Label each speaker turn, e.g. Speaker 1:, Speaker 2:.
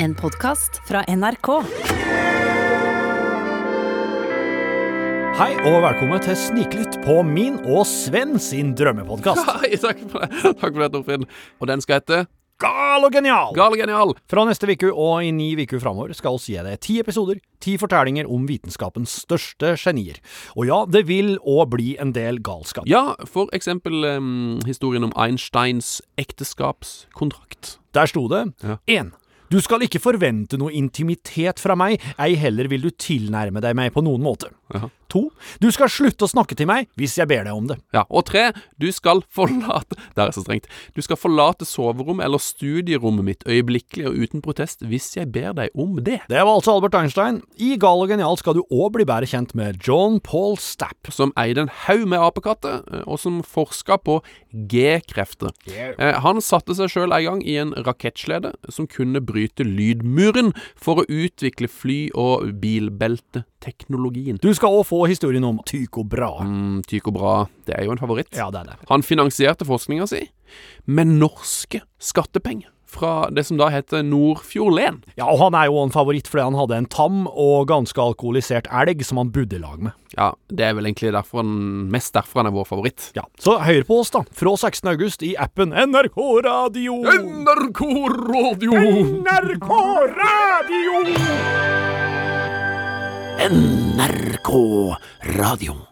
Speaker 1: En podkast fra NRK.
Speaker 2: Hei og velkommen til Sniklytt på min og Sven sin drømmepodkast.
Speaker 3: Hei, takk for det, takk for det Torfinn. Og den skal hete
Speaker 2: Gal og genial!
Speaker 3: Gal og genial.
Speaker 2: Fra neste uke og i ni uker framover skal oss gi deg ti episoder, ti fortellinger om vitenskapens største genier. Og ja, det vil òg bli en del galskap.
Speaker 3: Ja, for eksempel em, historien om Einsteins ekteskapskontrakt.
Speaker 2: Der sto det
Speaker 3: Ja.
Speaker 2: 1. Du skal ikke forvente noe intimitet fra meg, ei heller vil du tilnærme deg meg på noen måte.
Speaker 3: Ja.
Speaker 2: 2. Du skal slutte å snakke til meg hvis jeg ber deg om det.
Speaker 3: Ja, Og tre, du skal forlate Det er så strengt. Du skal forlate soverommet eller studierommet mitt øyeblikkelig og uten protest hvis jeg ber deg om det.
Speaker 2: Det var altså Albert Einstein. I Gal og genial skal du òg bli bedre kjent med John Paul Stapp.
Speaker 3: Som eide en haug med apekatter, eh, og som forska på G-krefter. Eh, Han satte seg sjøl en gang i en rakettslede som kunne bryte lydmuren for å utvikle fly- og bilbelteteknologien.
Speaker 2: Du skal òg få historien om Tycho Brahe.
Speaker 3: Mm, Tycho Brahe, det er jo en favoritt.
Speaker 2: Ja, det er det.
Speaker 3: Han finansierte forskninga si med norske skattepenger fra det som da heter Nordfjordlen.
Speaker 2: Ja, og Han er jo en favoritt fordi han hadde en tam og ganske alkoholisert elg som han bodde i lag med.
Speaker 3: Ja, det er vel egentlig derfor han, mest derfor han er vår favoritt.
Speaker 2: Ja, Så hør på oss, da. Fra 16. august i appen NRK Radio.
Speaker 3: NRK Radio!
Speaker 2: NRK Radio!
Speaker 3: NRK Radio.